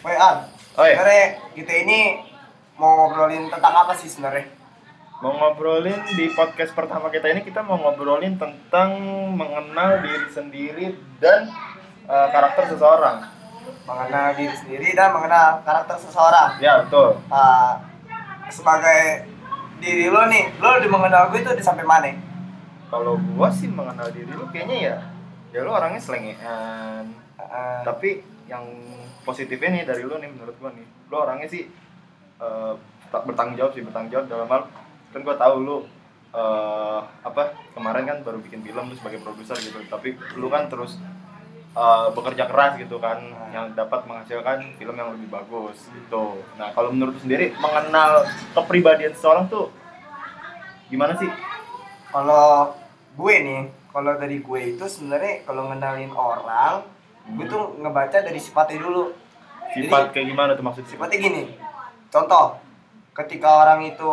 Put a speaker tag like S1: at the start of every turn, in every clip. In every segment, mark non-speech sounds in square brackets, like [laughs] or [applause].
S1: WA.
S2: Oi.
S1: Sebenarnya kita ini mau ngobrolin tentang apa sih sebenarnya?
S2: Mau ngobrolin di podcast pertama kita ini kita mau ngobrolin tentang mengenal diri sendiri dan eh, karakter seseorang.
S1: Mengenal diri sendiri dan mengenal karakter seseorang.
S2: Ya betul.
S1: Ah, sebagai diri lo nih, lo udah mengenal gue itu udah sampai mana?
S2: Kalau gua sih mengenal diri lu kayaknya ya ya lu orangnya selengean.
S1: Ah,
S2: Tapi yang positifnya nih dari lu nih menurut gua nih, lu orangnya sih eh, tak- bertanggung jawab sih bertanggung jawab dalam hal kan gua tahu lu eh, apa kemarin kan baru bikin film lu sebagai produser gitu tapi lu kan terus eh, bekerja keras gitu kan
S1: Hmm.
S2: yang dapat menghasilkan film yang lebih bagus gitu nah kalau menurut lu sendiri mengenal kepribadian seseorang tuh gimana sih
S1: kalau gue nih, kalau dari gue itu sebenarnya kalau ngenalin orang, gue tuh ngebaca dari sifatnya dulu.
S2: sifat kayak gimana tuh maksud sifat
S1: Sifatnya gini, contoh, ketika orang itu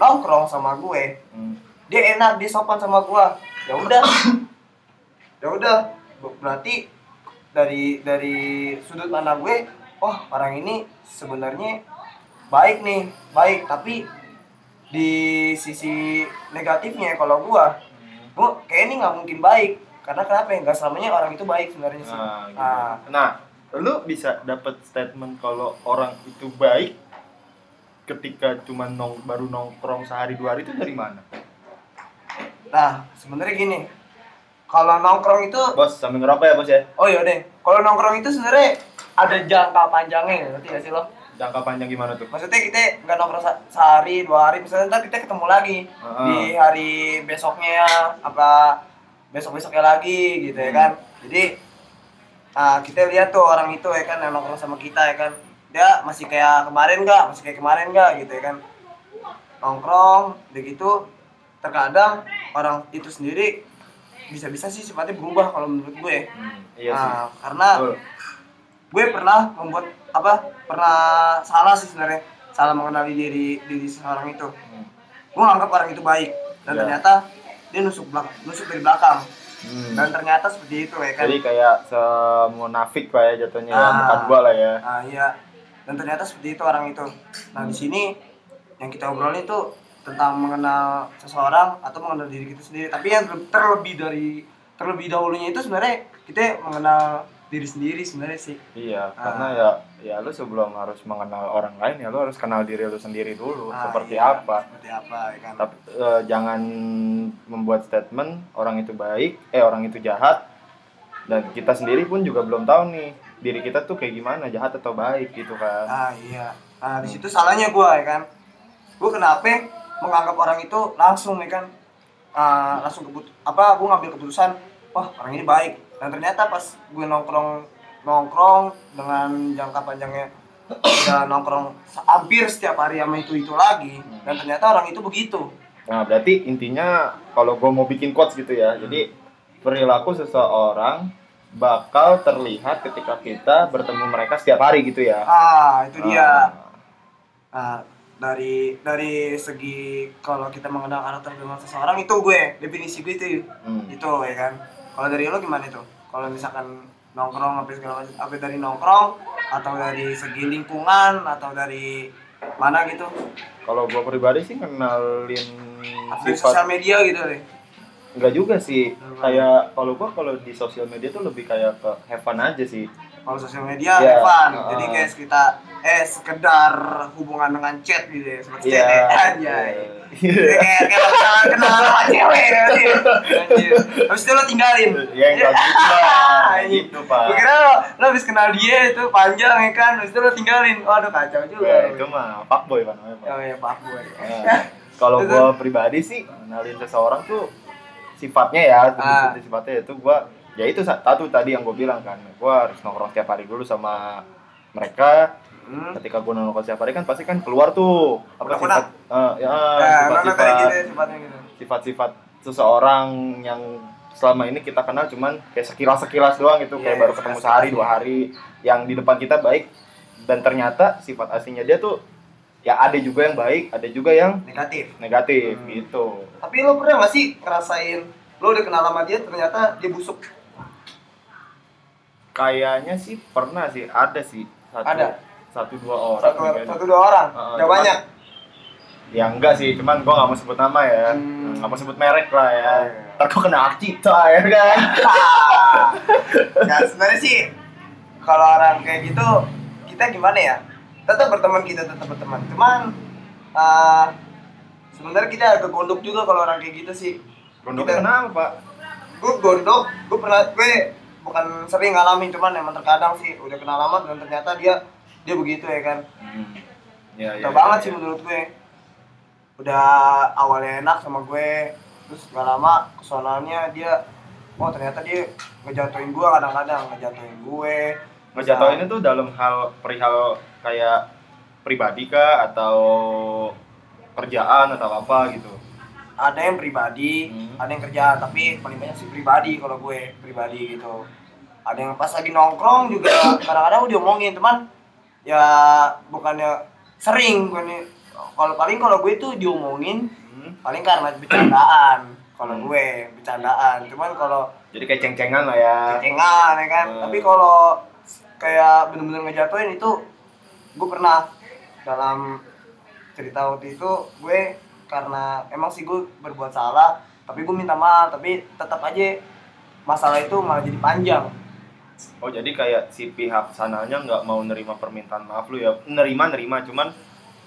S1: nongkrong sama gue,
S2: Hmm.
S1: dia enak dia sopan sama gua ya udah ya udah Ber- berarti dari dari sudut pandang gue wah orang ini sebenarnya baik nih baik tapi di sisi negatifnya kalau gua gua kayak ini nggak mungkin baik karena kenapa ya nggak selamanya orang itu baik sebenarnya sih
S2: Nah, gitu.
S1: Ah.
S2: nah, lu bisa dapat statement kalau orang itu baik ketika cuma nong baru nongkrong sehari dua hari itu dari mana?
S1: nah sebenarnya gini kalau nongkrong itu
S2: Bos, sambil ngerokok ya bos ya.
S1: oh iya deh kalau nongkrong itu sebenarnya ada jangka panjangnya ngerti gak sih lo
S2: Jangka panjang gimana tuh?
S1: maksudnya kita nggak nongkrong sa- sehari dua hari misalnya ntar kita ketemu lagi
S2: Heeh.
S1: di hari besoknya apa besok besoknya lagi gitu ya
S2: Hmm.
S1: kan jadi ah, kita lihat tuh orang itu ya kan yang nongkrong sama kita ya kan dia masih kayak kemarin nggak masih kayak kemarin nggak gitu ya kan nongkrong begitu terkadang orang itu sendiri bisa-bisa sih sifatnya berubah kalau menurut gue
S2: Hmm, iya sih.
S1: Ah, karena
S2: Betul.
S1: gue pernah membuat apa pernah salah sih sebenarnya salah mengenali diri diri seseorang itu
S2: Hmm.
S1: gue anggap orang itu baik dan
S2: Ya.
S1: ternyata dia nusuk belak nusuk dari belakang
S2: Hmm.
S1: dan ternyata seperti itu ya kan
S2: Jadi kayak semunafik lah ya jatuhnya
S1: Ah.
S2: bukan gua lah ya.
S1: nah iya dan ternyata seperti itu orang itu nah di sini yang kita obrolin itu tentang mengenal seseorang atau mengenal diri kita sendiri tapi yang ter- terlebih dari terlebih dahulunya itu sebenarnya kita mengenal diri sendiri sebenarnya sih Ah.
S2: Iya, karena ya ya lu sebelum harus mengenal orang lain ya lu harus kenal diri lu sendiri dulu
S1: Ah,
S2: Oh, seperti
S1: iya,
S2: apa.
S1: seperti apa ya kan
S2: tapi eh, jangan membuat statement orang itu baik eh orang itu jahat dan kita sendiri pun juga belum tahu nih diri kita tuh kayak gimana jahat atau baik gitu kan
S1: Ah iya. Nah di situ salahnya gue ya kan. Gue kenapa menganggap orang itu langsung ya kan. Ah, langsung kebut apa gue ngambil keputusan wah orang ini baik dan ternyata pas gue nongkrong nongkrong dengan jangka panjangnya udah nongkrong se- hampir setiap hari sama itu itu lagi dan ternyata orang itu begitu
S2: nah berarti intinya kalau gue mau bikin quotes gitu ya jadi
S1: Hmm.
S2: perilaku seseorang bakal terlihat ketika kita bertemu mereka setiap hari gitu ya
S1: ah itu dia
S2: Ah,
S1: Nah, dari dari segi kalau kita mengenal karakter dengan seseorang itu gue definisi gue itu
S2: hmm.
S1: itu ya kan kalau dari lo gimana itu kalau misalkan nongkrong apa segala macam apa dari nongkrong atau dari segi lingkungan atau dari mana gitu
S2: kalau gue pribadi sih kenalin
S1: atau dari
S2: sifat
S1: sosial media gitu deh
S2: Enggak juga sih.
S1: Hmm.
S2: Kayak kalau gua kalau di sosial media tuh lebih kayak ke have fun aja sih.
S1: kalau sosial media
S2: Iya,
S1: Evan
S2: heeh.
S1: jadi guys kita eh sekedar hubungan dengan chat gitu ya seperti chat ya
S2: Iya.
S1: kenal kenal
S2: [laughs]
S1: sama cewek nanti anjir habis itu lo tinggalin Iya.
S2: Ya enggak gitu lah.
S1: [laughs]
S2: Nggak gitu, Pak.
S1: Gue kira lo, lo habis kenal dia itu panjang ya kan, habis itu lo tinggalin. Waduh kacau
S2: Ya,
S1: juga.
S2: itu mah fuckboy kan namanya, Pak.
S1: Oh ya maaf gue.
S2: Nah, kalau gua pribadi sih kenalin seseorang tuh sifatnya ya,
S1: Ah.
S2: sifatnya itu gua ya itu satu tadi yang gua bilang kan. Gua harus nongkrong tiap hari dulu sama mereka
S1: Hmm.
S2: ketika gua nongkrong tiap hari kan pasti kan keluar tuh apa
S1: Udah
S2: sifat eh, ya,
S1: Nah, lo lo tadi
S2: sifat-sifat
S1: gitu ya, sifatnya gitu.
S2: sifat-sifat seseorang yang selama ini kita kenal cuman kayak sekilas-sekilas doang gitu
S1: Iya,
S2: kayak
S1: iya,
S2: baru ketemu
S1: sekilas-sekilas.
S2: sehari dua hari yang di depan kita baik dan ternyata sifat aslinya dia tuh ya ada juga yang baik ada juga yang
S1: Negatif.
S2: negatif
S1: Hmm.
S2: gitu
S1: Tapi lo pernah gak sih ngerasain lo udah kenal sama dia ternyata dia busuk?
S2: kayaknya sih pernah sih ada sih satu,
S1: Ada.
S2: satu dua orang
S1: satu,
S2: mungkin.
S1: satu dua orang
S2: Ah, ah,
S1: udah
S2: cuman-
S1: banyak
S2: ya enggak sih cuman gua nggak mau sebut nama ya
S1: Hmm.
S2: nggak mau sebut merek lah ya
S1: Ah, iya.
S2: ntar gua kena akcita ya kan
S1: Ah. nah sebenarnya sih kalau orang kayak gitu kita gimana ya tetap berteman kita tetap berteman cuman ah, sebenarnya kita agak gondok juga kalau orang kayak gitu sih
S2: Gondok
S1: Kita-
S2: kenapa pak
S1: gue gondok gue pernah gue bukan sering ngalamin cuman emang terkadang sih udah kenal lama dan ternyata dia dia begitu ya kan
S2: ya,
S1: Udah banget sih menurut gue udah awalnya enak sama gue terus gak lama kesonalnya dia oh ternyata dia ngejatuhin gue kadang-kadang ngejatuhin gue
S2: ngejatuhin itu dalam hal perihal kayak pribadi kah atau kerjaan atau apa gitu
S1: ada yang pribadi
S2: Hmm.
S1: ada yang kerjaan tapi paling banyak sih pribadi kalau gue pribadi gitu ada yang pas lagi nongkrong juga kadang-kadang udah omongin teman ya bukannya sering bukannya kalau paling kalau gue itu diomongin
S2: Hmm.
S1: paling karena bercandaan kalau gue bercandaan cuman kalau
S2: jadi kayak ceng-cengan lah ya
S1: cengan ya kan
S2: Hmm.
S1: tapi kalau kayak bener-bener ngejatuhin itu gue pernah dalam cerita waktu itu gue karena emang sih gue berbuat salah tapi gue minta maaf tapi tetap aja masalah itu malah jadi panjang
S2: oh jadi kayak si pihak sananya nggak mau nerima permintaan maaf lu ya nerima nerima cuman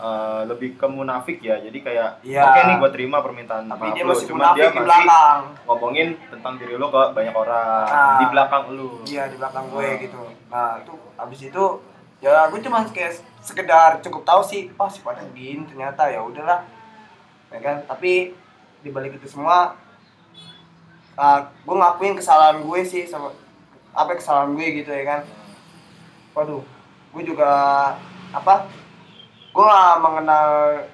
S2: eh, lebih ke munafik ya jadi kayak
S1: Iya.
S2: oke nih gua terima permintaan
S1: tapi
S2: maaf
S1: dia
S2: lu
S1: masih
S2: cuman dia
S1: munafik di
S2: masih
S1: belakang
S2: ngomongin tentang diri lu ke banyak orang
S1: Ah.
S2: di belakang lu
S1: iya di belakang gue
S2: Hmm.
S1: gitu nah itu abis itu ya gue cuman kayak sekedar cukup tahu sih oh sifatnya begini ternyata ya udahlah ya kan tapi dibalik itu semua ah, gue ngakuin kesalahan gue sih sama apa kesalahan gue gitu ya kan waduh gue juga apa gue nggak mengenal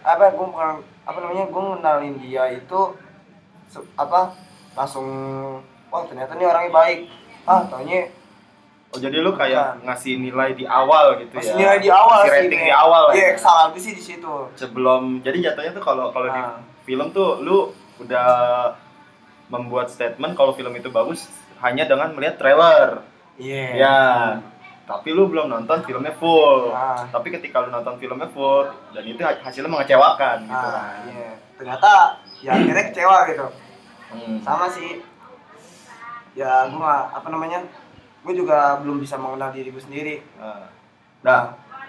S1: apa gue bukan apa namanya gue mengenalin dia itu se- apa langsung wah ternyata nih orangnya baik ah taunya
S2: oh jadi lu kayak ngasih nilai di awal gitu
S1: masih
S2: ya
S1: nilai di awal
S2: Ngasih
S1: sih
S2: rating
S1: Nek.
S2: di awal
S1: iya
S2: ya
S1: kesalahan gue sih di situ
S2: sebelum jadi jatuhnya tuh kalau kalau di
S1: Ah.
S2: film tuh lu udah membuat statement kalau film itu bagus hanya dengan melihat trailer
S1: iya
S2: ya tapi lu belum nonton filmnya full
S1: Ah.
S2: tapi ketika lu nonton filmnya full dan itu ha- hasilnya mengecewakan gitu
S1: ah
S2: kan.
S1: iya ternyata ya akhirnya kecewa gitu
S2: Hmm.
S1: sama sih ya gue nggak apa namanya gue juga belum bisa mengenal diri gue sendiri
S2: Ah. nah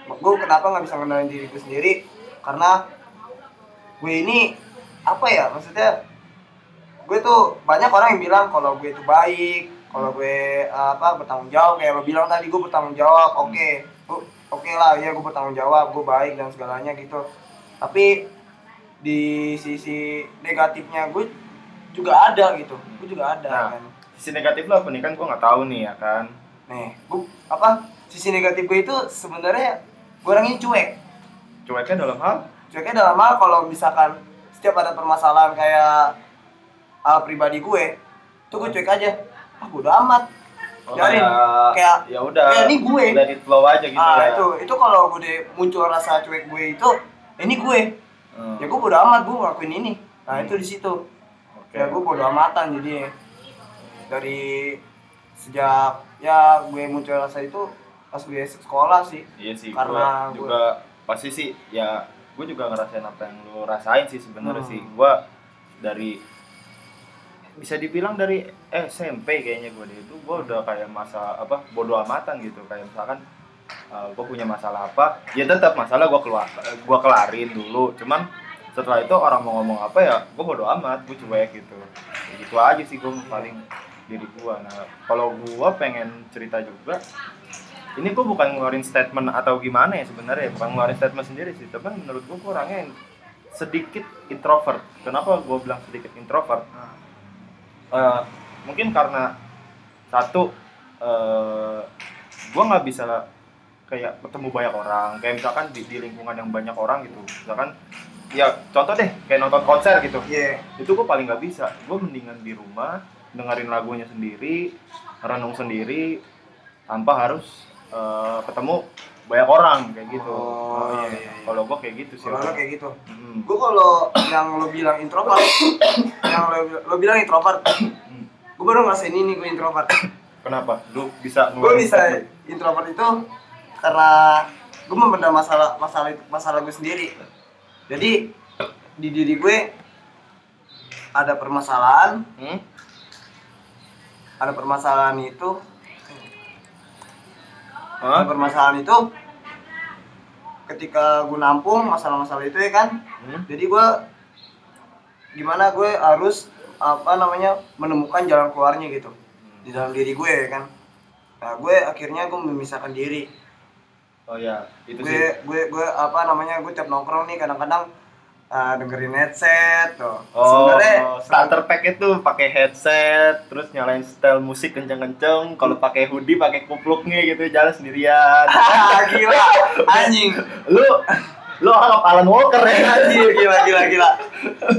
S1: Nah, gue kenapa nggak bisa ngenalin diri gue sendiri? Karena gue ini apa ya? Maksudnya gue tuh banyak orang yang bilang kalau gue itu baik, kalau gue eh, apa bertanggung jawab kayak lo bilang tadi gue bertanggung jawab. Oke, Gua- oke lah ya gue bertanggung jawab, gue baik dan segalanya gitu. Tapi di sisi negatifnya gue juga ada gitu, gue juga ada
S2: Nah.
S1: kan.
S2: sisi negatif lu apa nih kan gua nggak tahu nih ya kan
S1: Nih, gue apa sisi negatif gue itu sebenarnya gue orangnya cuek.
S2: cueknya dalam hal
S1: Cueknya dalam hal kalau misalkan setiap ada permasalahan kayak hal pribadi gue, tuh gue cuek aja. Ah, bodo amat.
S2: oh,
S1: Biarin.
S2: kayak
S1: Kayak-
S2: ya udah
S1: kayak ini gue.
S2: let it flow aja gitu
S1: ah,
S2: ya
S1: itu itu kalau gue deh muncul rasa cuek gue itu, ya ini gue.
S2: Hmm.
S1: Ya gue bodo amat gue ngelakuin ini. Nah,
S2: Hmm.
S1: itu di situ.
S2: Oke.
S1: Ya gue bodo amatan jadi dari sejak ya gue muncul rasa itu pas gue sekolah sih.
S2: Iya sih,
S1: Karena
S2: gua juga pasti sih ya gue juga ngerasain apa yang lu rasain sih sebenarnya
S1: Hmm.
S2: sih. Gua dari bisa dibilang dari SMP kayaknya gue itu gua udah kayak masa apa bodoh amatan gitu kayak misalkan gue punya masalah apa ya tetap masalah gua keluar gua kelarin dulu cuman setelah itu orang mau ngomong apa ya gue bodoh amat gue cuek gitu Ya gitu aja sih gue paling diri gua nah kalau gua pengen cerita juga ini gue bukan ngeluarin statement atau gimana ya sebenarnya bukan ngeluarin statement sendiri sih tapi menurut gue orangnya yang sedikit introvert kenapa gue bilang sedikit introvert Eh, mungkin karena satu eh gue nggak bisa kayak ketemu banyak orang kayak misalkan di, di lingkungan yang banyak orang gitu misalkan ya contoh deh kayak nonton konser gitu
S1: Iya.
S2: itu gue paling nggak bisa gue mendingan di rumah dengerin lagunya sendiri renung sendiri tanpa harus eh, ketemu banyak orang kayak gitu
S1: Oh, iya, iya, iya.
S2: kalau gue kayak gitu sih
S1: Kalau lo kayak gitu.
S2: Mm.
S1: gue kalau yang lo bilang introvert yang lo, lo bilang introvert gue baru ngerasain ini gue introvert
S2: kenapa lu bisa
S1: gue
S2: ngeluarin
S1: bisa
S2: statement?
S1: introvert itu karena gue memendam masalah masalah masalah gue sendiri jadi di diri gue ada permasalahan
S2: Hmm?
S1: ada permasalahan itu
S2: Hah?
S1: ada permasalahan itu ketika gue nampung masalah-masalah itu ya kan
S2: Hmm?
S1: jadi gue gimana gue harus apa namanya menemukan jalan keluarnya gitu di dalam diri gue ya kan nah gue akhirnya gue memisahkan diri
S2: Oh ya, itu
S1: gue
S2: sih.
S1: gue gue apa namanya gue tiap nongkrong nih kadang-kadang uh, dengerin headset tuh
S2: Oh,
S1: sebenarnya [laughs]
S2: starter pack itu pakai headset, terus nyalain style musik kenceng-kenceng. Kalau pakai hoodie, pakai kupluknya gitu, jalan sendirian.
S1: Ah, gila anjing
S2: lu, lu anggap Alan Walker
S1: [laughs]
S2: ya?
S1: anjing gila gila gila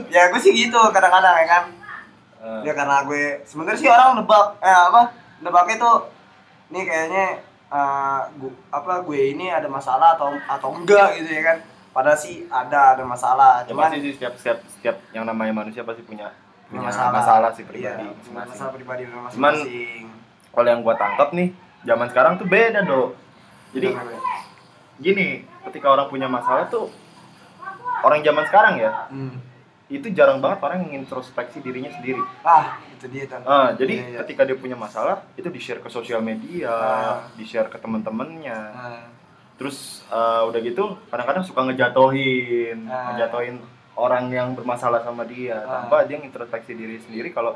S1: ya gue sih gitu kadang-kadang ya kan
S2: Eh,
S1: ya karena gue sebenarnya sih orang nebak eh apa nebaknya tuh nih kayaknya eh, gu- apa gue ini ada masalah atau atau enggak gitu ya kan padahal sih ada ada masalah
S2: Cuman
S1: cuman
S2: Ya, sih setiap setiap setiap yang namanya manusia pasti punya
S1: punya
S2: punya masalah, masalah sih pribadi.
S1: Iya, punya
S2: masing-masing.
S1: masalah pribadi
S2: Cuman,
S1: masing-masing
S2: Kalau yang gua tangkap nih, zaman sekarang tuh beda dong. Jadi
S1: Gitu kan,
S2: gini, ketika orang punya masalah tuh orang zaman sekarang ya,
S1: Hmm.
S2: itu jarang banget orang yang introspeksi dirinya sendiri.
S1: ah itu dia tuh
S2: Ah, jadi
S1: Iya, iya.
S2: ketika dia punya masalah itu di share ke sosial media,
S1: Ah.
S2: di share ke teman-temannya.
S1: Nah,
S2: Terus eh, udah gitu kadang-kadang suka ngejatohin,
S1: Ah.
S2: ngejatohin orang yang bermasalah sama dia
S1: Ah.
S2: tanpa dia introspeksi diri sendiri kalau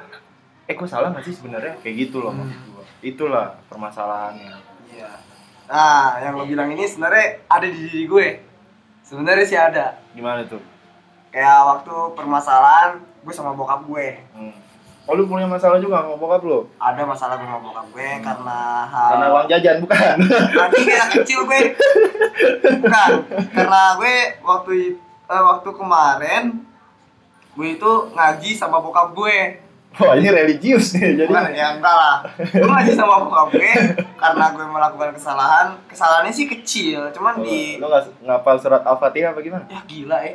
S2: eh gue salah nggak sih sebenarnya kayak gitu loh
S1: Hmm.
S2: maksud gua. Itulah permasalahannya.
S1: iya nah yang lo bilang ini sebenarnya ada di diri gue sebenarnya sih ada
S2: Gimana tuh?
S1: kayak waktu permasalahan gue sama bokap gue
S2: Hmm. Oh lu punya masalah juga sama bokap lu?
S1: ada masalah gue sama bokap gue
S2: Hmm.
S1: karena hal
S2: Karena uang jajan bukan? [laughs]
S1: Nanti kayak kecil gue bukan karena gue waktu i- eh, waktu kemarin gue itu ngaji sama bokap gue
S2: Wah Oh, ini religius nih jadi.
S1: bukan ya enggak lah gue ngaji sama bokap gue karena gue melakukan kesalahan kesalahannya sih kecil cuman di
S2: Oh, Lu nggak ngapal surat al-fatihah apa gimana?
S1: ya gila ya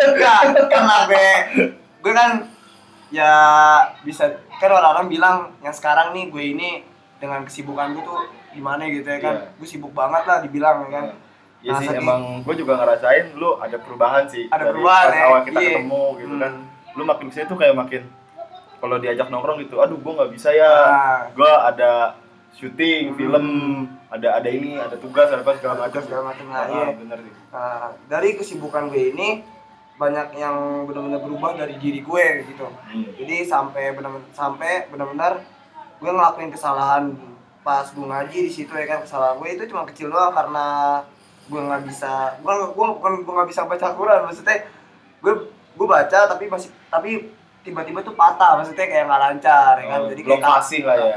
S1: enggak karena gue gue kan ya bisa kan orang-orang bilang yang sekarang nih gue ini dengan kesibukan gue tuh gimana gitu ya kan
S2: Iya.
S1: gue sibuk banget lah dibilang ya kan
S2: Iya
S1: Nah,
S2: sih
S1: sedih.
S2: emang gue juga ngerasain lu ada perubahan sih
S1: Ada
S2: dari
S1: perubahan,
S2: pas
S1: ya.
S2: awal kita
S1: Iya.
S2: ketemu gitu kan
S1: Hmm.
S2: lu makin kesini tuh kayak makin kalau diajak nongkrong gitu aduh gue nggak bisa ya
S1: Ah.
S2: gue ada syuting
S1: Hmm.
S2: film ada ada ini ada tugas ada apa segala
S1: Ada
S2: macam
S1: segala macam,
S2: Ah,
S1: iya.
S2: bener sih
S1: Nah, dari kesibukan gue ini banyak yang benar-benar berubah dari diri gue gitu.
S2: Hmm.
S1: Jadi sampai benar sampai benar-benar gue ngelakuin kesalahan pas gue ngaji di situ ya kan kesalahan gue itu cuma kecil doang karena gue nggak bisa gue gue bukan gue nggak bisa baca Quran maksudnya gue gue baca tapi masih tapi tiba-tiba tuh patah maksudnya kayak nggak lancar ya kan
S2: Oh,
S1: jadi
S2: belum
S1: kayak
S2: kasih lah ya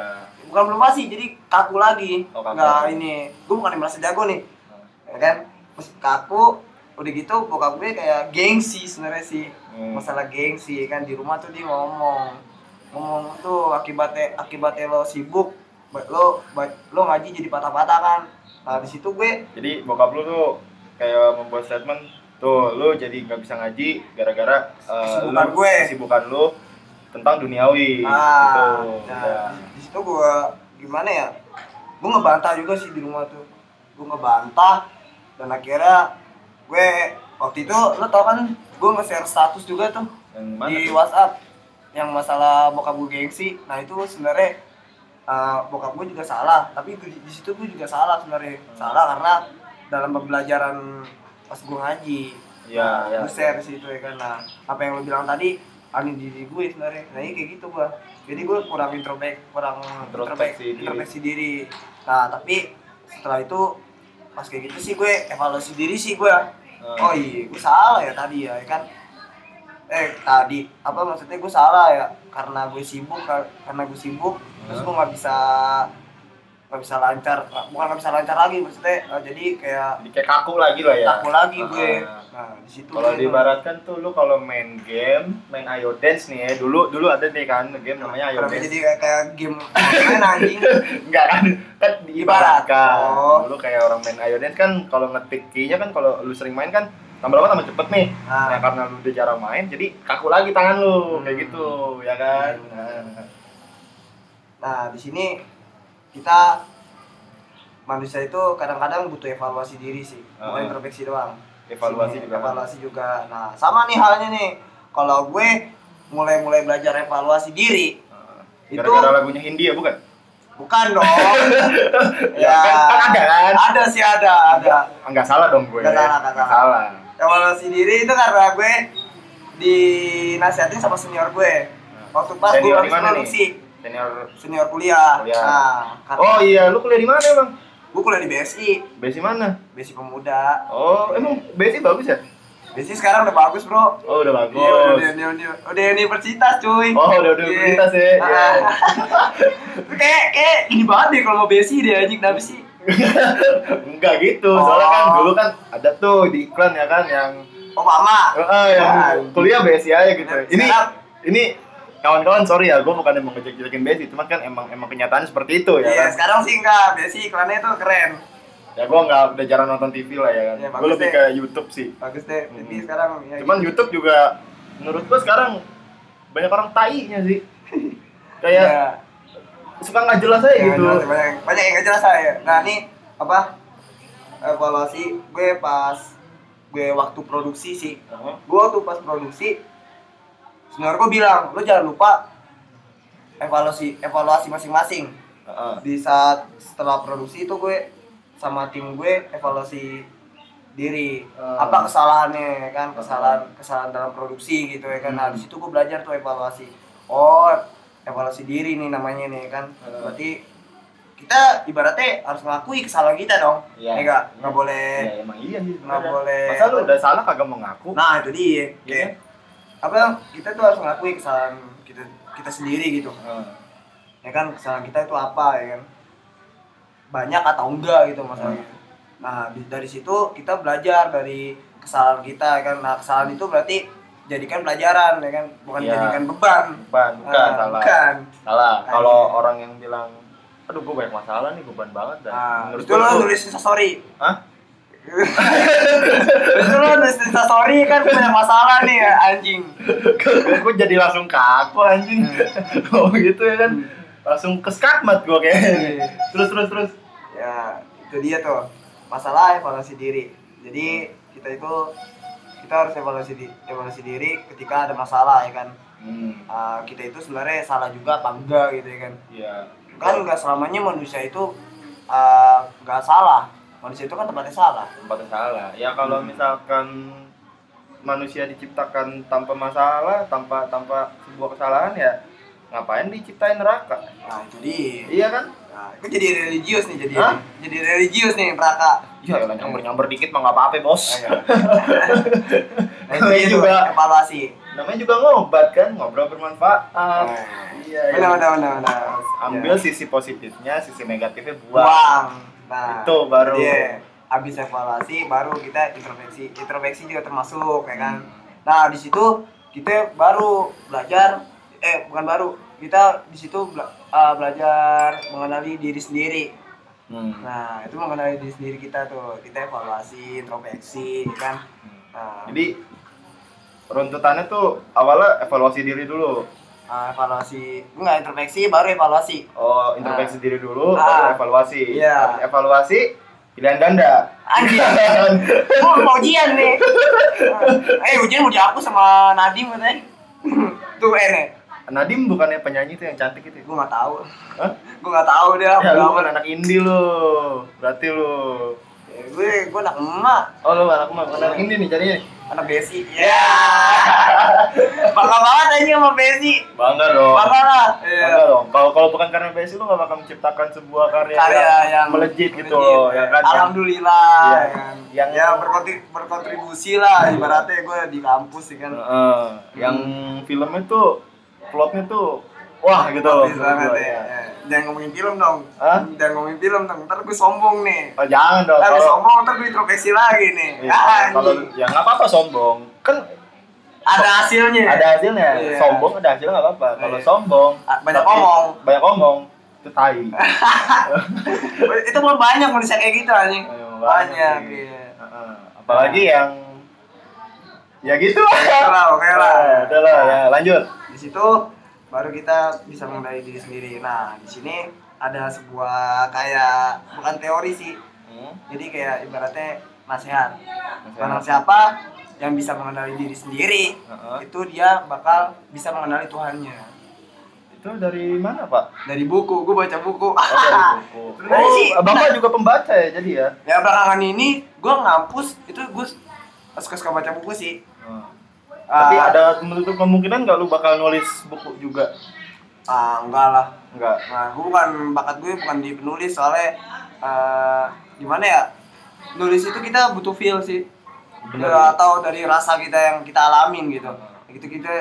S1: bukan belum masih jadi kaku lagi
S2: Oh, kaku.
S1: nggak ini gue bukan yang merasa jago nih ya kan terus kaku udah gitu bokap gue kayak gengsi sebenarnya sih
S2: Hmm.
S1: masalah gengsi ya kan di rumah tuh dia ngomong ngomong tuh akibatnya akibatnya lo sibuk ba- lo ba- lo ngaji jadi patah-patah kan nah di situ gue
S2: jadi bokap lu tuh kayak membuat statement tuh lu jadi nggak bisa ngaji gara-gara eh,
S1: Kesibukan
S2: lu-
S1: gue.
S2: kesibukan lu tentang duniawi
S1: ah
S2: gitu
S1: nah,
S2: Ya.
S1: di situ gue gimana ya gue ngebantah juga sih di rumah tuh gue ngebantah dan akhirnya gue waktu itu lo tau kan gue nge-share status juga tuh
S2: yang mana
S1: di
S2: tuh?
S1: WhatsApp yang masalah bokap gue gengsi nah itu sebenarnya eh, bokap gue juga salah tapi gue- di situ gue juga salah sebenarnya
S2: Hmm.
S1: salah karena dalam pembelajaran pas gue ngaji
S2: Iya,
S1: Nah,
S2: iya.
S1: gue share di situ ya kan nah, apa yang lo bilang tadi ada di diri gue sebenarnya nah ini kayak gitu gue jadi gue kurang introspek kurang introspek
S2: Introspeksi diri.
S1: introspeksi diri nah tapi setelah itu pas kayak gitu sih gue evaluasi diri sih gue oh iya gue salah ya tadi ya ya kan eh tadi apa maksudnya gue salah ya karena gue sibuk kar- karena gue sibuk terus gue nggak bisa nggak bisa lancar bukan nggak bisa lancar lagi maksudnya eh, jadi kayak
S2: Jadi kayak kaku lagi lah ya
S1: takut lagi gue
S2: Ah.
S1: nah di situ
S2: kalau
S1: gue-
S2: diibaratkan tuh lu kalau main game main ayo dance nih ya dulu dulu ada nih kan game namanya ayo
S1: Kenapa
S2: dance
S1: jadi kayak, kayak game [laughs] main anjing
S2: Enggak kan, kan diibaratkan.
S1: Oh.
S2: Dulu kayak orang main Ayo Dance kan kalau ngetik key-nya kan kalau lu sering main kan tambah lama tambah cepet nih.
S1: Ah.
S2: Nah, karena lu udah jarang main jadi kaku lagi tangan lu
S1: Hmm. Iya.
S2: kayak gitu, ya kan?
S1: Nah, di sini kita manusia itu kadang-kadang butuh evaluasi diri sih bukan
S2: Ah.
S1: introspeksi doang
S2: evaluasi
S1: Sini,
S2: juga kan?
S1: evaluasi juga nah sama nih halnya nih kalau gue mulai-mulai belajar evaluasi diri
S2: Heeh.
S1: Itu-
S2: gara-gara lagunya Hindia bukan
S1: bukan dong
S2: [laughs] Ya, kan- kan ada kan?
S1: ada sih ada ada
S2: Ah, nggak salah dong gue
S1: Nggak
S2: ya.
S1: salah, nggak
S2: Nggak
S1: salah.
S2: salah.
S1: evaluasi diri itu karena gue dinasihatin sama senior gue waktu pas gue
S2: Senior
S1: habis
S2: di mana nih?
S1: produksi
S2: senior
S1: senior kuliah,
S2: Kuliah.
S1: nah karena
S2: oh iya lu kuliah di mana emang
S1: gue kuliah di BSI
S2: BSI mana
S1: BSI pemuda
S2: oh emang BSI bagus ya
S1: BSI sekarang udah bagus bro
S2: oh udah bagus
S1: Iya, udah, udah, udah, udah universitas cuy.
S2: Oh, udah- udah
S1: Iya.
S2: universitas ya,
S1: Ah.
S2: iya.
S1: [laughs] kayak kayak ini banget deh kalau mau BSI deh anjing kenapa sih?
S2: Enggak gitu, soalnya kan
S1: Oh.
S2: dulu kan ada tuh di iklan ya kan yang
S1: Oh, Mama.
S2: eh, eh, yang
S1: Ah. Iya.
S2: kuliah BSI aja gitu. Ini
S1: Sekarang-
S2: ini kawan-kawan sorry ya, gue bukan emang ngejek-jekin BSI, cuman kan emang emang kenyataannya seperti itu ya
S1: Iya,
S2: kan.
S1: sekarang sih enggak. BSI iklannya tuh keren.
S2: Ya gue nggak udah jarang nonton TV lah ya kan.
S1: Iya,
S2: gue
S1: bagus
S2: lebih
S1: deh.
S2: ke YouTube sih.
S1: Bagus deh. Tapi
S2: Hmm.
S1: sekarang ya
S2: Cuman YouTube juga menurut gue sekarang banyak orang tai-nya
S1: [laughs]
S2: sih. Kayak
S1: Iya.
S2: suka nggak jelas aja
S1: Yang
S2: gitu.
S1: Ya, jelas, banyak, banyak yang gak jelas saya. Nah ini apa evaluasi gue pas gue waktu produksi sih.
S2: Heeh.
S1: Gue waktu pas produksi senior gue bilang lo jangan lupa evaluasi evaluasi masing-masing.
S2: Heeh.
S1: Di saat setelah produksi itu gue sama tim gue evaluasi diri
S2: Eh.
S1: apa kesalahannya ya kan kesalahan kesalahan dalam produksi gitu ya kan nah
S2: Hmm.
S1: di situ gue belajar tuh evaluasi oh evaluasi diri nih namanya nih ya kan
S2: Eh.
S1: berarti kita ibaratnya harus mengakui kesalahan kita dong
S2: Iya.
S1: ya enggak nggak boleh
S2: Ya emang iya sih.
S1: Nggak
S2: sebenarnya.
S1: boleh.
S2: Masa lu udah salah kagak mau ngaku?
S1: nah itu dia
S2: Iya.
S1: kayak apa kita tuh harus mengakui kesalahan kita kita sendiri gitu
S2: Heeh.
S1: ya kan kesalahan kita itu apa ya kan banyak atau enggak gitu masalahnya
S2: Iya.
S1: nah di- dari situ kita belajar dari kesalahan kita ya kan nah kesalahan itu berarti jadikan pelajaran ya kan bukan
S2: Iya.
S1: jadikan beban
S2: Bukan, bukan,
S1: Ah,
S2: salah.
S1: bukan.
S2: Salah.
S1: Nah,
S2: Kalau
S1: iya.
S2: orang yang bilang, aduh gue banyak masalah nih, beban banget dah.
S1: Nah,
S2: Menurut
S1: itu lo
S2: gua-
S1: nulis instastory
S2: Hah? [laughs]
S1: itu lo nulis instastory kan banyak masalah nih ya, anjing
S2: gue jadi langsung kaku anjing.
S1: Hmm.
S2: [laughs] oh gitu ya kan. Langsung keskatmat gue
S1: Iya.
S2: kayaknya. terus, terus, terus.
S1: ya itu dia tuh masalah evaluasi diri jadi kita itu kita harus evaluasi di evaluasi diri ketika ada masalah ya kan
S2: Hmm,
S1: Ah, kita itu sebenarnya salah juga apa enggak gitu ya kan
S2: iya.
S1: kan nggak selamanya manusia itu ah, nggak salah manusia itu kan tempatnya salah
S2: Tempatnya salah. Ya
S1: Hmm.
S2: kalau misalkan manusia diciptakan tanpa masalah, tanpa tanpa sebuah kesalahan ya ngapain diciptain neraka?
S1: nah itu dia
S2: Iya kan?
S1: nah, itu jadi religius nih jadi
S2: Hah?
S1: jadi religius nih neraka
S2: Iya, nyamber-nyamber dikit mah nggak apa-apa, Bos. [laughs]
S1: nah, itu dia tuh,
S2: Juga.
S1: evaluasi Nah.
S2: namanya juga ngobat kan ngobrol bermanfaat iya iya.
S1: benar benar benar Iya. benar.
S2: ambil sisi positifnya sisi negatifnya buang
S1: buang. Nah,
S2: Itu baru.
S1: Iya. Habis evaluasi baru kita introspeksi. Introspeksi juga termasuk ya kan.
S2: Hmm.
S1: Nah, di situ kita baru belajar eh bukan baru. Kita di situ bela- eh, belajar mengenali diri sendiri.
S2: Hmm.
S1: Nah, itu mengenali diri sendiri kita tuh. Kita evaluasi, introspeksi ya kan. Nah,
S2: jadi runtutannya tuh awalnya evaluasi diri dulu
S1: eh, evaluasi enggak introspeksi baru evaluasi.
S2: oh introspeksi diri dulu
S1: Ah.
S2: baru evaluasi
S1: Iya.
S2: Habis evaluasi pilihan ganda
S1: Anjir.
S2: [laughs]
S1: Gua mau ujian Oh, nih. Eh, ujian mau dihapus sama Nadim katanya. Tuh enek.
S2: Nadim bukannya penyanyi tuh yang cantik itu ya?
S1: Gua nggak tahu.
S2: Hah?
S1: Gua nggak tahu dia.
S2: Ya, lu
S1: apa.
S2: kan anak indie lu. Berarti lu.
S1: Eh, gue gue anak emak,
S2: Oh, lu anak mah bukan anak indie nih jadinya.
S1: anak Besi. Ya. Bangga banget aja sama Besi.
S2: Bangga dong.
S1: Bangga lah. Iya.
S2: Enggak dong. Kalau kalau bukan karena PSI lu gak bakal menciptakan sebuah karya,
S1: Iya. Karya yang
S2: Iya. melejit gitu
S1: melejit,
S2: loh, ya kan?
S1: Alhamdulillah.
S2: Iya.
S1: ya kan.
S2: Yang- Iya.
S1: ya berkonti- berkontribusi lah ibaratnya gue di kampus ya kan.
S2: Yang, eh, yang filmnya tuh plotnya tuh wah gitu loh.
S1: Bagus banget
S2: menurut gua,
S1: ya.
S2: ya.
S1: Ya. Jangan ngomongin film dong.
S2: Hah?
S1: Jangan ngomongin film dong. Ntar gue sombong nih.
S2: Oh, jangan dong.
S1: Ntar gue
S2: Kalau
S1: sombong, ntar gue introspeksi lagi nih.
S2: iya,
S1: Ah,
S2: kalau
S1: anjing.
S2: ya nggak apa-apa sombong. Kan
S1: ada hasilnya.
S2: ada hasilnya.
S1: Iya.
S2: Sombong ada hasilnya nggak apa-apa. Kalau
S1: Iya.
S2: sombong
S1: Ah, banyak
S2: tapi
S1: ngomong.
S2: Banyak ngomong itu
S1: [laughs]
S2: tai.
S1: itu belum banyak manusia kayak gitu anjing.
S2: Ayo,
S1: Banyak.
S2: Iya, sih.
S1: Iya.
S2: Heeh. Apalagi yang ya gitu
S1: Iya, Oke lah, oke lah.
S2: Iya, Udah lah, ya lanjut.
S1: Di situ baru kita bisa mengenali diri sendiri nah di sini ada sebuah kayak bukan teori sih
S2: Hmm.
S1: jadi kayak ibaratnya nasihat barang
S2: Nasihat.
S1: siapa yang bisa mengenali diri sendiri
S2: Heeh.
S1: itu dia bakal bisa mengenali Tuhannya
S2: Itu dari mana pak?
S1: dari buku gue baca buku
S2: Oh,
S1: [laughs]
S2: dari buku.
S1: Sebenarnya
S2: Oh,
S1: Ah, sih,
S2: bapak juga pembaca ya jadi ya.
S1: ya belakangan ini gue ngampus itu gue suka suka baca buku sih
S2: Hmm. Tapi ada menutup kemungkinan nggak lu bakal nulis buku juga?
S1: ah enggak lah
S2: Nggak.
S1: Nah, gue bukan bakat gue bukan di penulis soalnya eh, gimana ya? Nulis itu kita butuh feel sih.
S2: Bener.
S1: Ya, atau dari rasa kita yang kita alamin gitu. Itu kita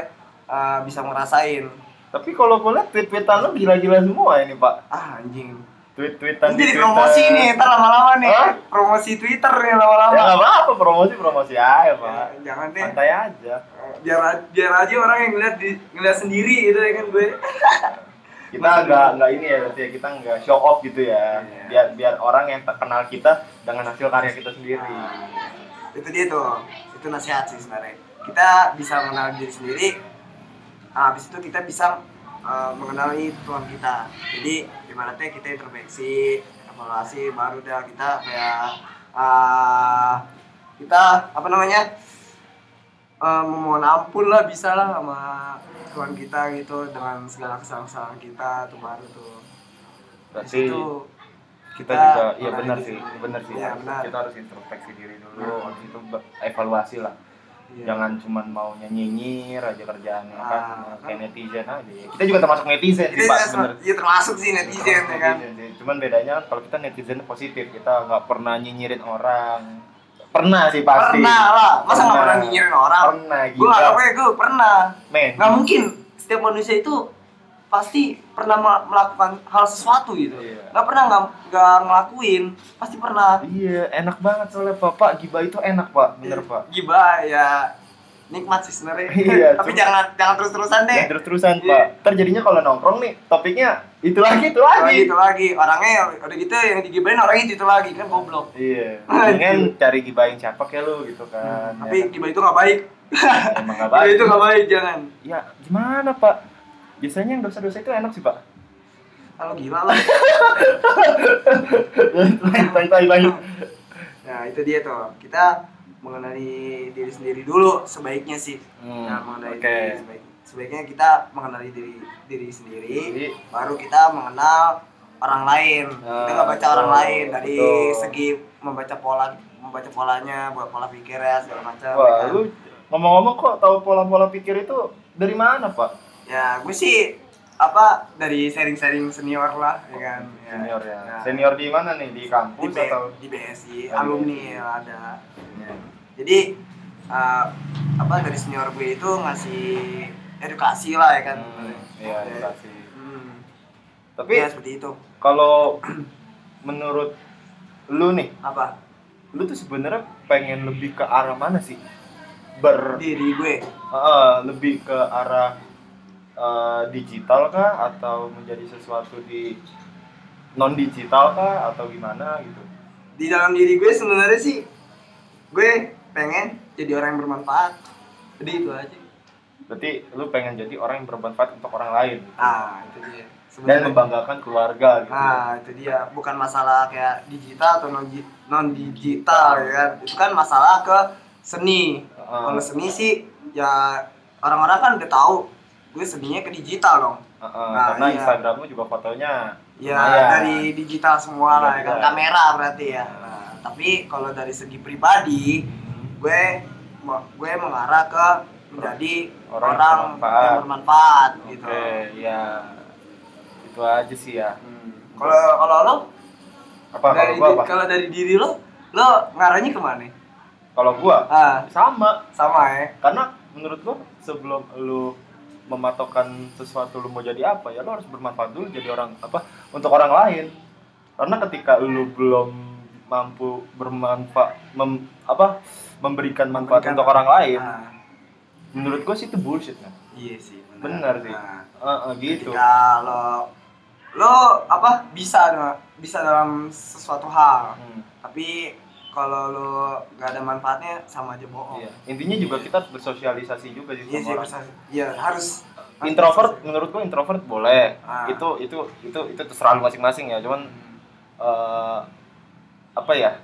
S1: eh, bisa ngerasain.
S2: Tapi kalau gue liat tweet-tweetan lu gila-gila semua ini pak.
S1: Ah anjing.
S2: Tweet-tweetan
S1: Jadi
S2: di Twitter.
S1: promosi ya, nih, ntar lama-lama nih.
S2: Hah?
S1: Promosi Twitter nih
S2: Ya
S1: lama-lama.
S2: nggak apa-apa promosi promosi aja pak.
S1: Ya, jangan deh.
S2: Santai aja.
S1: Biar, biar aja orang yang ngeliat di, ngeliat sendiri gitu ya kan gue.
S2: kita nggak nggak ini ya berarti ya kita nggak show off gitu ya
S1: Iya.
S2: biar biar orang yang tak kenal kita dengan hasil karya kita sendiri
S1: Nah, itu dia tuh itu nasihat sih sebenarnya kita bisa mengenal diri sendiri nah, habis itu kita bisa eh, mengenali Tuhan kita jadi ibaratnya kita introspeksi evaluasi baru dah kita kayak eh, kita apa namanya eh, memohon ampun lah bisa lah sama Tuhan kita gitu dengan segala kesalahan-kesalahan kita tuh baru tuh Di
S2: berarti
S1: situ
S2: kita juga
S1: kita
S2: iya benar
S1: mengenali
S2: sih
S1: diri.
S2: benar sih
S1: Iya,
S2: harus-
S1: benar. Nah.
S2: kita harus introspeksi diri dulu habis itu be- evaluasi lah
S1: iya.
S2: jangan cuman mau nyinyir aja kerjaannya
S1: Ah,
S2: kan
S1: kan.
S2: kayak netizen aja ya. kita juga termasuk netizen
S1: Itu
S2: sih pak
S1: ya,
S2: sebenarnya
S1: ya termasuk sih netizen ya kan
S2: Netizen sih. cuman bedanya kalau kita netizen positif kita nggak pernah nyinyirin orang pernah sih pasti
S1: Pernah lah, masa nggak
S2: Pernah.
S1: pernah nyinyirin orang?
S2: pernah Eh.
S1: Gue
S2: gitu
S1: nggak tahu ya, gue pernah.
S2: men
S1: Nggak mungkin setiap manusia itu pasti pernah mel- melakukan hal sesuatu gitu.
S2: Iya.
S1: Nggak pernah nggak nggak ngelakuin, pasti pernah.
S2: Iya, enak banget soalnya Bapak Giba itu enak, Pak. Bener, Pak.
S1: Gibah ya nikmat sih sebenarnya.
S2: [laughs] Iya,
S1: Tapi
S2: cuma-
S1: jangan jangan terus-terusan deh.
S2: Dan terus-terusan,
S1: Iya.
S2: Pak. Ntar jadinya kalau nongkrong nih, topiknya itu lagi, itu
S1: Lagi
S2: lagi.
S1: itu lagi orangnya udah gitu yang digibahin orangnya itu, itu lagi kan goblok.
S2: Iya. Mendingan cari Giba yang cakep ya lu gitu kan.
S1: Hmm, Tapi
S2: ya,
S1: gibah itu nggak baik.
S2: kan? emang gak
S1: Gibah
S2: baik.
S1: [laughs] itu nggak baik jangan.
S2: Ya, gimana, Pak? Biasanya yang dosa-dosa itu enak sih, Pak. [laughs]
S1: Kalau gila lah.
S2: Lanjut, lanjut, lanjut, lanjut.
S1: Nah itu dia tuh kita mengenali diri sendiri dulu sebaiknya sih.
S2: Hmm,
S1: Nah mengenali
S2: oke.
S1: diri sebaik- sebaiknya kita mengenali diri diri sendiri,
S2: Jadi,
S1: baru kita mengenal orang lain.
S2: Nah,
S1: kita nggak baca
S2: betul,
S1: orang lain dari
S2: betul.
S1: segi membaca pola membaca polanya, buat pola pikirnya segala macam. ya
S2: Wah,
S1: kan.
S2: lu ngomong-ngomong kok tahu pola-pola pikir itu dari mana, Pak?
S1: Ya gue sih apa dari sharing-sharing senior lah, ya kan. Ya.
S2: Senior ya.
S1: Nah,
S2: Senior di mana nih?
S1: di,
S2: Di kampus
S1: B-
S2: atau?
S1: di BSI
S2: Oh, di
S1: alumni
S2: BSI.
S1: ya, ada. jadi eh, apa dari senior gue itu ngasih edukasi lah ya kan
S2: Hmm, Iya,
S1: Oke.
S2: edukasi.
S1: Hmm.
S2: Tapi
S1: ya seperti itu
S2: kalau [clears throat] menurut lu nih,
S1: apa
S2: lu tuh sebenarnya pengen lebih ke arah mana sih? Ber
S1: diri gue
S2: eh, lebih ke arah eh, digital kah atau menjadi sesuatu di non digital kah atau gimana gitu?
S1: di dalam diri gue sebenarnya sih gue pengen jadi orang yang bermanfaat jadi itu aja
S2: Berarti lu pengen jadi orang yang bermanfaat untuk orang lain gitu.
S1: ah itu dia
S2: dan
S1: sebenarnya
S2: membanggakan keluarga gitu.
S1: ah itu dia bukan masalah kayak digital atau non non digital ya kan itu kan masalah ke seni
S2: Heeh.
S1: kalau seni sih ya orang-orang kan udah tahu gue seninya ke digital dong
S2: Heeh,
S1: Nah,
S2: karena
S1: iya.
S2: Instagram lu juga fotonya
S1: ya
S2: lumayan.
S1: dari digital semua lah ya kan
S2: Digital.
S1: kamera berarti ya Nah, tapi kalau dari segi pribadi
S2: Hmm.
S1: gue me- gue mengarah ke menjadi
S2: Orang
S1: orang,
S2: yang bermanfaat.
S1: yang bermanfaat gitu
S2: Oke, ya itu aja sih ya.
S1: Hmm. kalau kalau lo
S2: Apa kalau
S1: dari
S2: gua
S1: di-
S2: apa?
S1: kalau dari diri lo lo ngarahnya kemana
S2: Kalau gua
S1: ah
S2: sama
S1: sama ya
S2: karena menurut gua sebelum lu mematokkan sesuatu lu mau jadi apa ya lu harus bermanfaat dulu jadi orang apa untuk orang lain karena ketika lu belum mampu bermanfaat mem- apa memberikan manfaat
S1: Memberikan-
S2: untuk orang lain
S1: Ah,
S2: menurut gua sih itu bullshit kan
S1: iya sih
S2: benar sih
S1: Nah,
S2: Heeh, gitu
S1: ketika lo lo apa bisa bisa dalam sesuatu hal
S2: Hmm.
S1: tapi kalau lu gak ada manfaatnya sama aja bohong.
S2: Iya. Intinya juga kita harus bersosialisasi juga sih
S1: Iya sih,
S2: sama orang.
S1: masa- iya harus.
S2: Introvert menurut gua introvert boleh.
S1: Ah.
S2: Itu itu itu itu terserah lu masing-masing ya. Cuman eh, apa ya?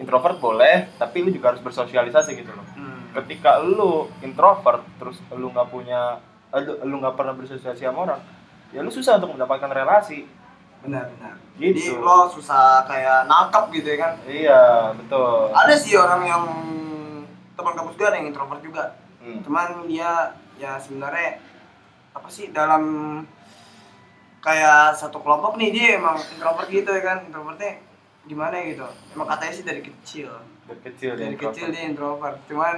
S2: Introvert boleh, tapi lu juga harus bersosialisasi gitu loh.
S1: Hmm.
S2: Ketika lu introvert terus lu nggak punya eh, lu lu nggak pernah bersosialisasi sama orang, ya lu susah untuk mendapatkan relasi.
S1: Benar, benar. Jadi
S2: Gitu.
S1: lo susah kayak nangkap gitu ya kan.
S2: Iya, betul.
S1: Ada sih orang yang teman kampus gue ada yang introvert juga.
S2: Hmm.
S1: Cuman dia ya sebenarnya apa sih dalam kayak satu kelompok nih dia emang introvert gitu ya kan. Introvertnya gimana gitu. Emang katanya sih dari kecil.
S2: Dari kecil dia
S1: Dari
S2: introvert.
S1: kecil dia introvert. Cuman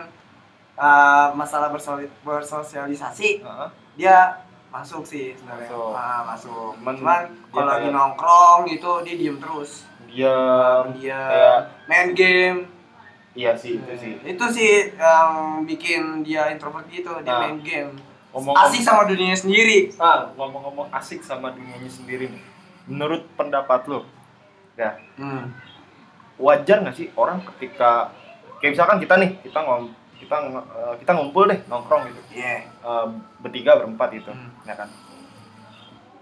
S1: eh, masalah bersoli- bersosialisasi
S2: Heeh.
S1: dia masuk sih sebenarnya
S2: Masuk.
S1: Ah, masuk
S2: Cuman
S1: cuman
S2: dia
S1: kalau lagi
S2: kayak-
S1: nongkrong gitu dia diem terus
S2: Diam,
S1: dia
S2: kayak
S1: main game
S2: iya sih itu sih.
S1: itu sih yang bikin dia introvert gitu dia
S2: Nah,
S1: main game
S2: ngomong-
S1: asik sama dunianya sendiri
S2: Ah, ngomong-ngomong asik sama dunianya sendiri nih. Menurut pendapat lo, ya
S1: hmm.
S2: wajar nggak sih orang ketika kayak misalkan kita nih, kita ngom kita ng- eh, kita ngumpul deh nongkrong gitu,
S1: yeah.
S2: Eh, bertiga berempat gitu,
S1: Hmm.
S2: ya kan?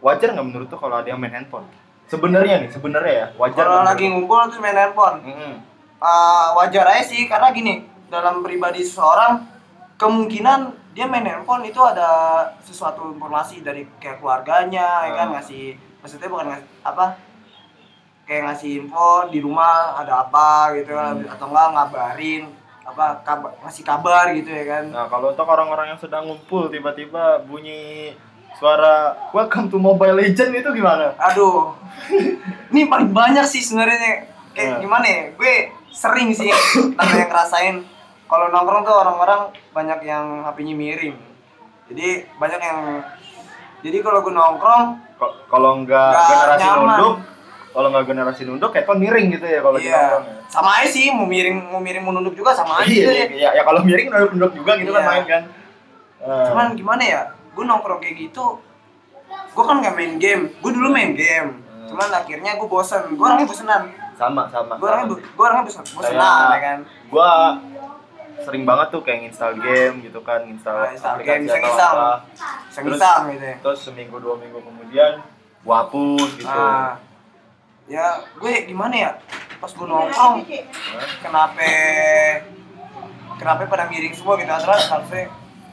S2: Wajar nggak menurut lo kalau ada yang main handphone? Sebenarnya nih, sebenarnya ya wajar.
S1: kalau
S2: nggak
S1: lagi
S2: menurut
S1: ngumpul terus main handphone
S2: lo? Mm-mm.
S1: Ah, wajar aja sih karena gini dalam pribadi seseorang kemungkinan dia main handphone itu ada sesuatu informasi dari kayak keluarganya ya kan
S2: Hmm.
S1: ngasih maksudnya bukan ngasih apa kayak ngasih info di rumah ada apa gitu kan
S2: Hmm.
S1: atau enggak ngabarin apa kabar, ngasih kabar gitu ya kan
S2: Nah, kalau untuk orang-orang yang sedang ngumpul tiba-tiba bunyi suara Welcome to Mobile Legend itu gimana?
S1: aduh ini paling banyak sih sebenarnya kayak
S2: Ya.
S1: gimana ya gue sering sih namanya ngerasain kalau nongkrong tuh orang-orang banyak yang HP-nya miring jadi banyak yang jadi kalau gue nongkrong
S2: Ko- Kalau nggak
S1: Nggak
S2: generasi
S1: nyaman.
S2: nunduk, kalau nggak generasi nunduk, handphone miring gitu ya kalau kita
S1: iya
S2: nongkrong ya.
S1: sama aja sih mau miring mau miring menunduk juga sama aja
S2: Iya,
S1: sih.
S2: iya, ya kalau miring nunduk nunduk juga gitu
S1: Iya.
S2: kan main kan. Eh,
S1: cuman gimana ya gue nongkrong kayak gitu gue kan nggak main game gue dulu main game
S2: Hmm.
S1: cuman akhirnya gue bosen gue orangnya bosenan
S2: sama sama.
S1: gue orangnya
S2: sama
S1: bu-
S2: sih.
S1: gue orangnya bosen bosenan
S2: Kayak-
S1: ya kan
S2: Gua sering banget tuh kayak install game gitu kan, install
S1: Nah, install
S2: aplikasi
S1: game,
S2: atau
S1: iseng-iseng.
S2: apa.
S1: sengisang gitu ya
S2: Terus seminggu dua minggu kemudian gua hapus gitu.
S1: Ah, ya gue gimana ya? Pas gue nongkrong,
S2: Nah,
S1: kenapa kenapa pada miring semua gitu antara harusnya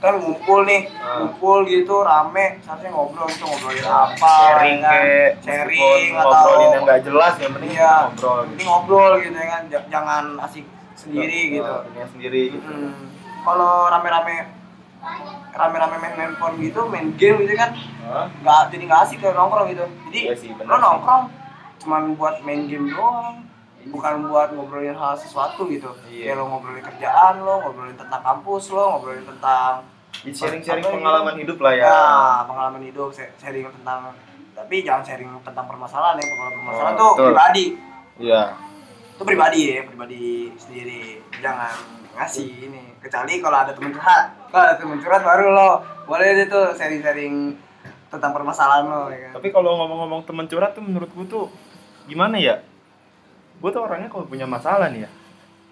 S1: kan ngumpul nih,
S2: Ah.
S1: ngumpul gitu rame, seharusnya ngobrol gitu ngobrolin apa,
S2: sharing
S1: ya kan?
S2: kayak
S1: sharing atau
S2: ngobrolin yang nggak jelas yang penting
S1: Iya.
S2: ngobrol
S1: ini ngobrol gitu ya kan, J- jangan asik sendiri gitu.
S2: Nah, dunia sendiri gitu
S1: Mm. Kalau rame-rame rame-rame main handphone gitu, main game gitu kan,
S2: Hah?
S1: nggak jadi nggak asik kayak nongkrong gitu jadi
S2: Iya sih,
S1: lo
S2: benar sih.
S1: nongkrong cuman buat main game doang bukan buat ngobrolin hal sesuatu gitu
S2: Iya.
S1: kayak lo ngobrolin kerjaan lo ngobrolin tentang kampus lo ngobrolin tentang
S2: Di sharing-sharing
S1: Apa
S2: pengalaman
S1: gitu?
S2: hidup lah ya
S1: nah, pengalaman hidup se- sharing tentang tapi jangan sharing tentang permasalahan ya pengalaman permasalahan
S2: Oh,
S1: tuh
S2: betul.
S1: pribadi
S2: iya
S1: itu pribadi ya pribadi sendiri jangan ngasih
S2: Iya.
S1: ini kecuali kalau ada temen curhat kalau ada temen curhat baru lo boleh deh tuh sharing-sharing tentang permasalahan lo ya kan?
S2: tapi kalau ngomong-ngomong teman curhat tuh menurut gua tuh gimana ya gua tuh orangnya kalau punya masalah nih ya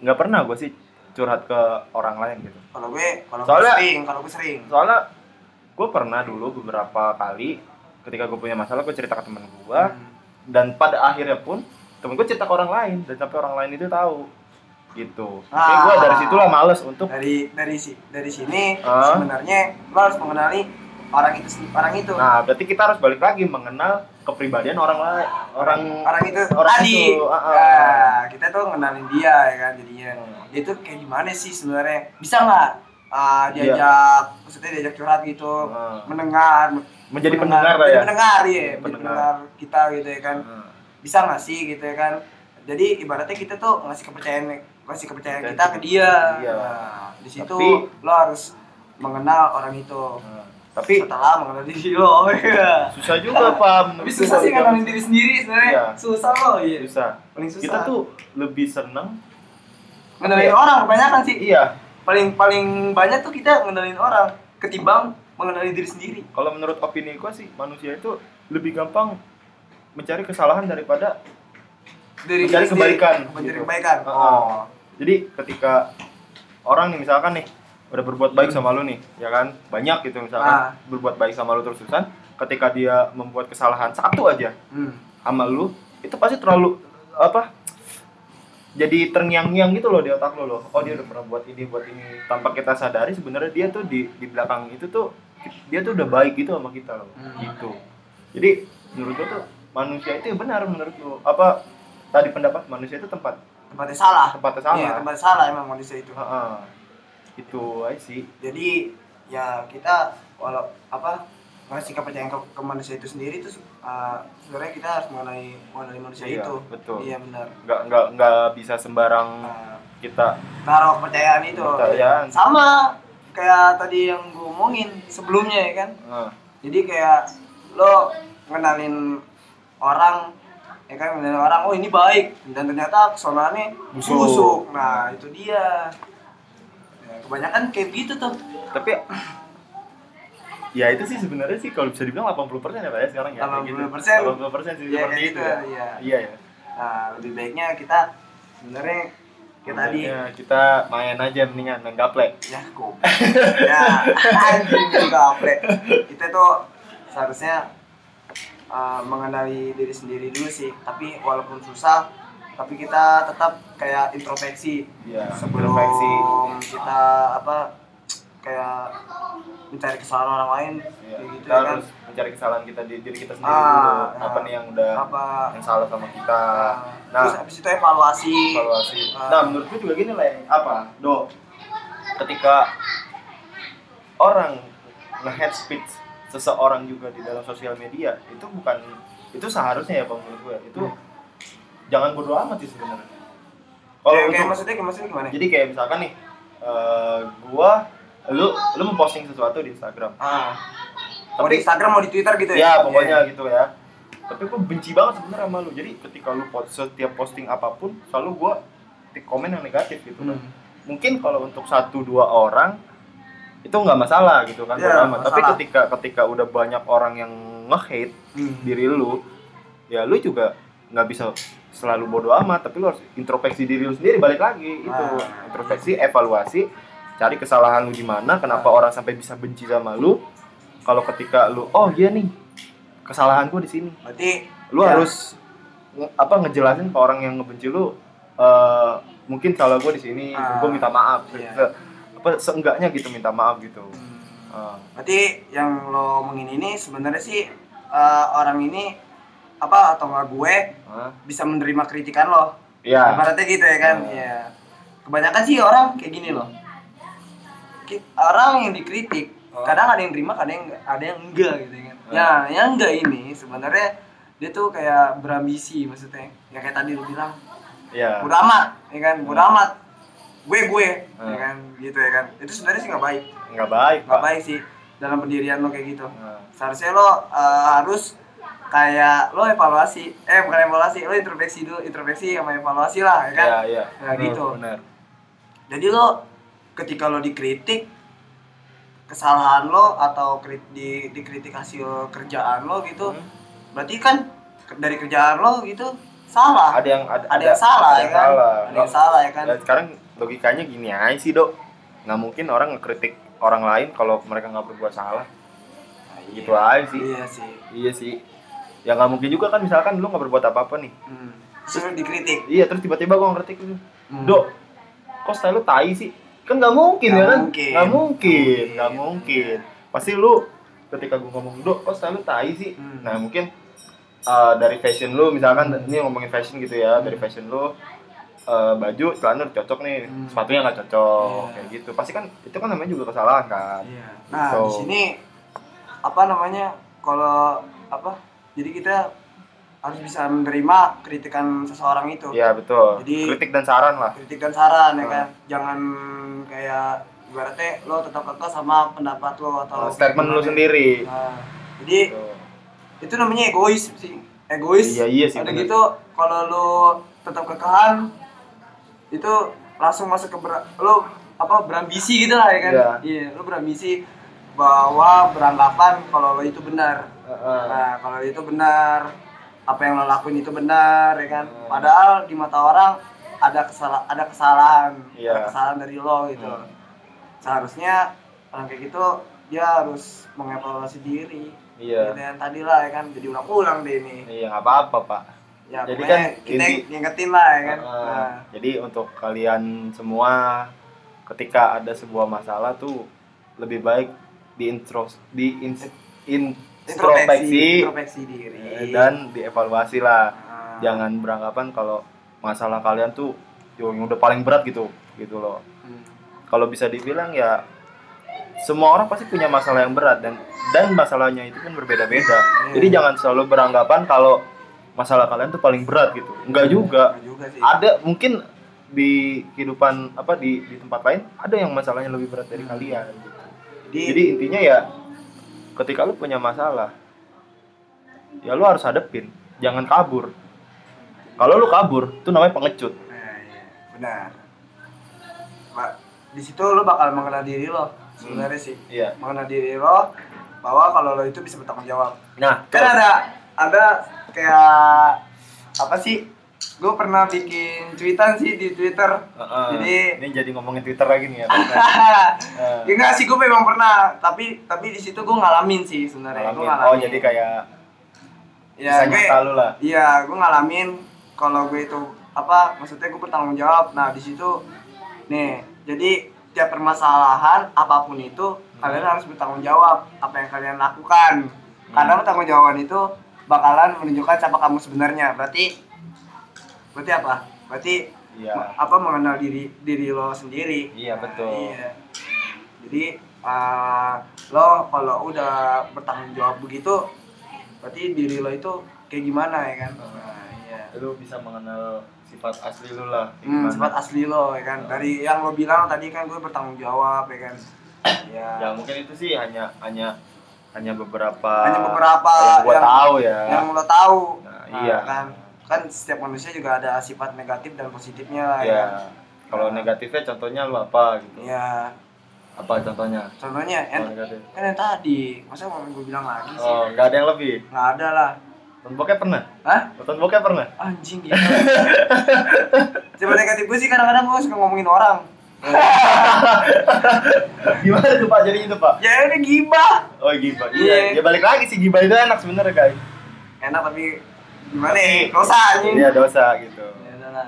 S2: nggak pernah gua sih curhat ke orang lain gitu
S1: kalau gue kalau gue
S2: Soalnya-
S1: sering kalau gue sering
S2: soalnya gua pernah dulu beberapa kali ketika gua punya masalah gua cerita ke teman gua
S1: Hmm.
S2: dan pada akhirnya pun temen gue cerita ke orang lain dan sampai orang lain itu tahu gitu
S1: Ah.
S2: tapi gue dari situlah males untuk
S1: dari dari si dari sini
S2: Hah?
S1: sebenarnya lo harus mengenali orang itu sen- orang itu
S2: nah berarti kita harus balik lagi mengenal kepribadian orang lain orang
S1: orang itu
S2: orang
S1: tadi
S2: itu, ah, ah.
S1: Nah, kita tuh ngenalin dia ya kan jadinya
S2: Hmm.
S1: dia tuh kayak gimana sih sebenarnya bisa nggak ah,
S2: Iya.
S1: diajak maksudnya diajak curhat gitu
S2: Hmm.
S1: mendengar
S2: menjadi pendengar lah ya
S1: menjadi pendengar ya menjadi
S2: Pendengar.
S1: pendengar kita gitu ya kan
S2: Hmm.
S1: bisa nggak sih gitu ya kan jadi ibaratnya kita tuh ngasih kepercayaan ngasih kepercayaan kita
S2: Kepercayaan
S1: ke dia
S2: Iya.
S1: nah, di situ
S2: Tapi-
S1: lo harus mengenal orang itu
S2: Hmm. tapi
S1: setelah mengenal diri lo [laughs] iya.
S2: susah juga pak
S1: tapi susah sih ngenalin diri sendiri sebenarnya
S2: Iya.
S1: susah lo iya
S2: susah
S1: paling susah
S2: kita tuh lebih seneng
S1: ngenalin
S2: Iya.
S1: orang kebanyakan sih
S2: iya
S1: paling paling banyak tuh kita ngenalin orang ketimbang mengenali diri sendiri
S2: kalau menurut opini gue sih manusia itu lebih gampang mencari kesalahan daripada
S1: Dari
S2: mencari
S1: diri
S2: kebaikan
S1: sendiri, mencari
S2: gitu.
S1: kebaikan.
S2: Heeh.
S1: Oh.
S2: jadi ketika orang nih misalkan nih udah berbuat baik sama lu nih ya kan banyak gitu
S1: Ah.
S2: misalkan berbuat baik sama lu terus-terusan ketika dia membuat kesalahan satu aja
S1: Hmm.
S2: sama lu itu pasti terlalu apa jadi terngiang-ngiang gitu loh di otak lo loh oh dia udah pernah buat ini buat ini tanpa kita sadari sebenarnya dia tuh di di belakang itu tuh dia tuh udah baik gitu sama kita loh
S1: Hmm.
S2: gitu jadi menurut lo tuh manusia itu yang benar menurut lo apa tadi pendapat manusia itu tempat
S1: Tempatnya salah.
S2: tempatnya salah
S1: Iya, tempatnya salah emang manusia itu.
S2: Heeh. itu aja sih
S1: Jadi ya kita walau apa ngasih kepercayaan ke, ke manusia itu sendiri itu uh, sebenarnya kita harus mengenai mengenai manusia
S2: Iya,
S1: itu.
S2: betul.
S1: Iya benar.
S2: nggak nggak nggak bisa sembarang
S1: Nah,
S2: kita
S1: taruh kepercayaan itu.
S2: Kepercayaan.
S1: Sama kayak tadi yang gue omongin sebelumnya ya kan.
S2: Heeh.
S1: Jadi kayak lo ngenalin orang ya kan ngenalin orang oh ini baik dan ternyata kesonaannya
S2: Busuk.
S1: busuk. Nah, itu dia. Ya, kebanyakan kayak gitu tuh.
S2: tapi ya itu sih sebenarnya sih kalau bisa dibilang 80 persen ya pak ya sekarang ya kayak
S1: 80%.
S2: 80 persen sih
S1: Iya, kayak
S2: seperti itu
S1: gitu,
S2: ya
S1: iya.
S2: iya ya
S1: Nah, lebih baiknya kita sebenarnya kayak tadi
S2: Makanya kita main aja mendingan main gaplek
S1: ya kok ya anjing juga apre kita tuh seharusnya uh, mengenali diri sendiri dulu sih tapi walaupun susah tapi kita tetap kayak introspeksi
S2: Iya,
S1: sebelum
S2: introspeksi.
S1: kita apa kayak mencari kesalahan orang lain
S2: Iya,
S1: kayak gitu
S2: kita
S1: ya kan
S2: harus mencari kesalahan kita di diri kita sendiri
S1: Ah,
S2: dulu
S1: nah.
S2: apa nih yang udah
S1: apa
S2: yang salah sama kita
S1: uh,
S2: nah
S1: terus habis itu evaluasi
S2: evaluasi
S1: Ah.
S2: nah menurut gue juga gini lah yang apa do ketika orang nge-head speech seseorang juga di dalam sosial media itu bukan itu seharusnya ya bang menurut gue itu
S1: Hmm.
S2: jangan bodo amat sih sebenarnya
S1: Kayak-
S2: kalau
S1: Iya, kayak
S2: Oh, untuk-
S1: maksudnya kayak maksudnya gimana
S2: jadi kayak misalkan nih eh gua lu lu memposting sesuatu di Instagram
S1: ah mau di
S2: tapi
S1: Instagram mau di Twitter gitu ya
S2: ya pokoknya
S1: Iya.
S2: gitu ya tapi gue benci banget sebenarnya sama lu jadi ketika lu post setiap posting apapun selalu gua tik komen yang negatif gitu kan
S1: Hmm.
S2: mungkin kalau untuk satu dua orang itu nggak masalah gitu kan
S1: Iya,
S2: bodo amat. tapi
S1: masalah.
S2: ketika ketika udah banyak orang yang nge-hate
S1: Hmm.
S2: diri lu ya lu juga nggak bisa selalu bodo amat tapi lu harus introspeksi diri lu sendiri balik lagi itu
S1: Ah.
S2: introspeksi evaluasi cari kesalahan lu di mana kenapa orang sampai bisa benci sama lu kalau ketika lu oh iya nih kesalahan gua di sini
S1: berarti
S2: lu
S1: Ya.
S2: harus nge- apa ngejelasin ke orang yang ngebenci lu eh, mungkin kalau gue di sini
S1: Ah.
S2: gue minta maaf
S1: Iya.
S2: Se- apa seenggaknya gitu minta maaf gitu
S1: Hmm.
S2: Ah,
S1: Berarti yang lo omongin ini sebenarnya sih eh, orang ini apa atau nggak gue
S2: ah.
S1: bisa menerima kritikan lo.
S2: ya
S1: Ibaratnya gitu ya kan.
S2: Ya.
S1: Iya. Kebanyakan sih orang kayak gini loh. Ki- Orang yang dikritik
S2: Oh.
S1: kadang ada yang terima, kadang yang nggak- ada yang enggak gitu ya kan.
S2: Oh.
S1: Ya, yang enggak ini sebenarnya dia tuh kayak berambisi maksudnya. Ya kayak tadi lo bilang
S2: ya
S1: bodo amat ya kan, bodo
S2: Hmm.
S1: amat. Gue gue ya
S2: Oh.
S1: kan gitu ya kan. Itu sebenarnya sih nggak baik.
S2: nggak baik
S1: Nggak
S2: Pak.
S1: baik sih dalam pendirian lo kayak gitu
S2: Ah.
S1: seharusnya lo eh, harus kayak lo evaluasi eh bukan evaluasi lo introspeksi dulu introspeksi sama evaluasi lah ya kan
S2: Iya, iya.
S1: Nah, gitu.
S2: Benar.
S1: jadi lo ketika lo dikritik kesalahan lo atau kri- di dikritik hasil kerjaan lo gitu
S2: Hmm.
S1: berarti kan ke- dari kerjaan lo gitu salah ada,
S2: Ada yang ada,
S1: yang salah
S2: ada
S1: ya
S2: yang
S1: kan
S2: salah.
S1: ada yang salah ya kan
S2: Dan sekarang logikanya gini aja sih, Dok. Nggak mungkin orang ngekritik orang lain kalau mereka nggak berbuat salah. gitu aja sih.
S1: iya sih
S2: Iya sih. Ya nggak mungkin juga kan misalkan lu nggak berbuat apa-apa nih.
S1: hmm. Terus lo dikritik
S2: Iya, terus tiba-tiba gua ngekritik lu.
S1: Hmm.
S2: Dok, kok style lu tai sih? Kan nggak mungkin
S1: Nggak
S2: ya kan?
S1: mungkin.
S2: Nggak mungkin, nggak
S1: Nggak
S2: mungkin. Pasti lu ketika gue ngomong, Dok, kok style lu tai sih?
S1: Hmm.
S2: Nah, mungkin uh, dari fashion lu, misalkan ini ngomongin fashion gitu ya, dari fashion lu, uh, baju, celana udah cocok nih,
S1: Hmm.
S2: sepatunya nggak cocok,
S1: Iya.
S2: kayak gitu. Pasti kan, itu kan namanya juga kesalahan kan?
S1: Iya. Nah,
S2: Gitu.
S1: di sini apa namanya? Kalau apa? Jadi kita harus bisa menerima kritikan seseorang itu.
S2: Iya, betul.
S1: Jadi-
S2: Kritik dan saran lah.
S1: Kritik dan saran ya
S2: Hmm.
S1: kan. Jangan kayak ibaratnya lo tetap kekeh sama pendapat lo atau
S2: Statement lu
S1: gimana.
S2: sendiri.
S1: Nah, jadi
S2: Gitu.
S1: itu namanya egois sih. Egois.
S2: Iya, iya sih,
S1: Ada
S2: bener.
S1: gitu kalau lo tetap kekehan itu langsung masuk ke ber- lo apa berambisi gitu lah ya kan.
S2: Iya.
S1: Iya, lo berambisi bahwa beranggapan kalau lo itu benar.
S2: Uh, uh.
S1: Nah, kalau itu benar apa yang lo lakuin itu benar ya kan
S2: Hmm.
S1: padahal di mata orang ada kesalahan ada kesalahan
S2: Iya.
S1: ada kesalahan dari lo gitu
S2: Hmm.
S1: seharusnya orang kayak gitu dia harus mengevaluasi diri
S2: Iya.
S1: gitu yang tadi lah ya kan jadi ulang-ulang deh ini
S2: Iya nggak apa-apa pak.
S1: ya
S2: Jadi
S1: pokoknya
S2: kan
S1: kita
S2: inti-
S1: ngingetin lah ya kan
S2: Uh,
S1: nah,
S2: Jadi untuk kalian semua ketika ada sebuah masalah tuh lebih baik diintros di
S1: introspeksi
S2: introspeksi Eh,
S1: introspeksi diri
S2: dan dievaluasi lah.
S1: Nah,
S2: Jangan beranggapan kalau masalah kalian tuh yang udah paling berat gitu gitu loh.
S1: hmm.
S2: Kalau bisa dibilang ya semua orang pasti punya masalah yang berat dan dan masalahnya itu pun
S1: Hmm.
S2: berbeda-beda. Jadi jangan selalu beranggapan kalau masalah kalian tuh paling berat gitu. Enggak juga Ah,
S1: Nah, juga sih
S2: ada mungkin di kehidupan apa di di tempat lain ada yang masalahnya lebih berat dari kalian gitu.
S1: jadi,
S2: Jadi intinya ya ketika lu punya masalah ya lu harus hadepin, jangan kabur. Kalau lu kabur itu namanya pengecut.
S1: nah, iya. benar Ba- di situ lo bakal mengenal diri lo sebenarnya sih
S2: Iya.
S1: mengenal diri lo bahwa kalau lo itu bisa bertanggung jawab
S2: Nah,
S1: kan ada ada kayak apa sih gue pernah bikin cuitan sih di twitter
S2: Ah,
S1: Jadi-
S2: jadi ini jadi ngomongin Twitter lagi nih ya.
S1: [laughs]
S2: Eh,
S1: Ya enggak sih, gue memang pernah, tapi tapi di situ gue ngalamin sih sebenarnya. Gue
S2: ngalamin.
S1: ngalamin.
S2: Oh, jadi kayak
S1: ya,
S2: bisa
S1: gue,
S2: nyata lu lah.
S1: Iya, gue ngalamin kalau gue itu apa maksudnya gue bertanggung jawab. Nah di situ nih, jadi tiap permasalahan apapun itu
S2: Hmm.
S1: kalian harus bertanggung jawab apa yang kalian lakukan.
S2: Hmm.
S1: Karena bertanggung jawaban itu bakalan menunjukkan siapa kamu sebenarnya. Berarti berarti apa? Berarti
S2: Iya.
S1: Ma- apa mengenal diri diri lo sendiri
S2: Iya,
S1: Nah,
S2: betul.
S1: iya. jadi uh, lo kalau udah bertanggung jawab begitu berarti diri lo itu kayak gimana ya kan nah, iya
S2: Lu bisa mengenal sifat asli lu lah. kayak
S1: hmm,
S2: gimana.
S1: sifat asli lo ya kan dari yang lo bilang tadi kan gue bertanggung jawab ya kan ya
S2: ya mungkin itu sih hanya hanya hanya beberapa
S1: Hanya beberapa
S2: yang gua
S1: yang-
S2: tahu ya
S1: yang lo tahu
S2: Nah,
S1: Nah,
S2: iya.
S1: kan kan setiap manusia juga ada sifat negatif dan positifnya lah, ya
S2: ya
S1: kan?
S2: kalau negatifnya contohnya lu apa gitu
S1: iya
S2: apa contohnya
S1: contohnya
S2: Kalau
S1: en-
S2: negatif
S1: kan yang tadi masa mau gue bilang lagi sih
S2: oh nggak ada yang lebih
S1: nggak ada lah
S2: nonton bokep pernah
S1: Hah?
S2: nonton bokep pernah [laughs]
S1: Anjing gitu. Coba negatif gue sih kadang-kadang gue suka ngomongin
S2: [laughs]
S1: orang.
S2: gimana tuh pak jadi itu pak
S1: Ya ini gibah.
S2: oh gibah
S1: Iya.
S2: iya ya balik lagi sih gibah itu enak sebenernya guys
S1: Enak tapi gimana ya? Dosa anjing.
S2: iya dosa gitu
S1: Ya udah lah.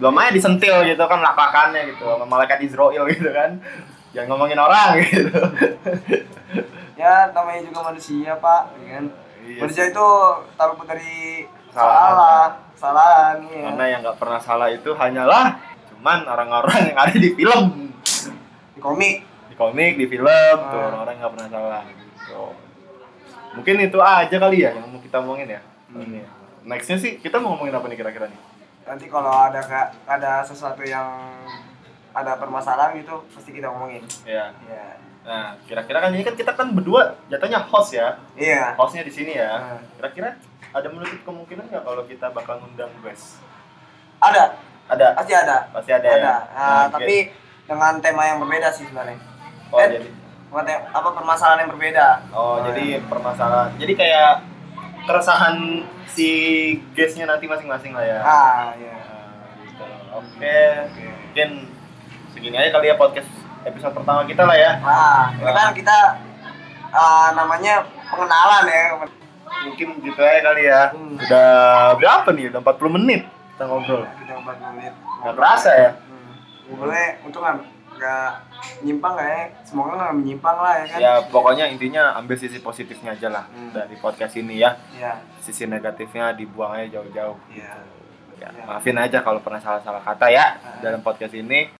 S2: belum aja disentil gitu kan lakakannya gitu sama malaikat Israel gitu kan jangan ngomongin orang [laughs] gitu
S1: Ya namanya juga manusia pak, ya kan?
S2: Iya.
S1: Manusia itu terluput dari
S2: Kesalahan.
S1: salah, kesalahan ya.
S2: karena yang nggak pernah salah itu hanyalah cuman orang-orang yang ada di film
S1: Di komik.
S2: di komik di film tuh
S1: Ah.
S2: orang-orang nggak pernah salah gitu mungkin itu aja kali ya yang mau kita omongin ya ini nextnya sih kita mau ngomongin apa nih kira-kira nih
S1: Nanti kalau ada ka- ada sesuatu yang ada permasalahan gitu pasti kita ngomongin.
S2: ya
S1: Iya.
S2: nah kira-kira kan ini kan kita kan berdua jatuhnya host ya
S1: Iya.
S2: hostnya di
S1: Ah.
S2: sini ya kira-kira ada menutup kemungkinan nggak kalau kita bakal ngundang guest
S1: Ada,
S2: ada
S1: pasti ada.
S2: pasti ada,
S1: ada,
S2: ya
S1: Nah,
S2: Oke.
S1: tapi dengan tema yang berbeda sih sebenarnya
S2: oh,
S1: Eh,
S2: jadi
S1: bukan te- apa permasalahan yang berbeda
S2: Oh, jadi permasalahan. Jadi kayak keresahan si guestnya nanti masing-masing lah ya.
S1: ya. ah ya
S2: Nah, gitu. Oke, mungkin segini aja kali ya podcast episode pertama kita lah ya.
S1: ah ini kan kita ah, namanya pengenalan ya
S2: Mungkin gitu aja kali ya.
S1: Hmm.
S2: Udah berapa nih? Udah 40 menit kita ngobrol.
S1: kita empat menit
S2: Gak kerasa ya?
S1: hmm. boleh untung kan nggak nyimpang nggak ya semoga nggak menyimpang lah ya kan
S2: Ya pokoknya intinya ambil sisi positifnya aja lah
S1: Hmm.
S2: dari podcast ini ya.
S1: ya
S2: Sisi negatifnya dibuang aja jauh-jauh.
S1: ya
S2: Ya,
S1: Ya.
S2: maafin aja kalau pernah salah-salah kata ya
S1: Ah.
S2: dalam podcast ini.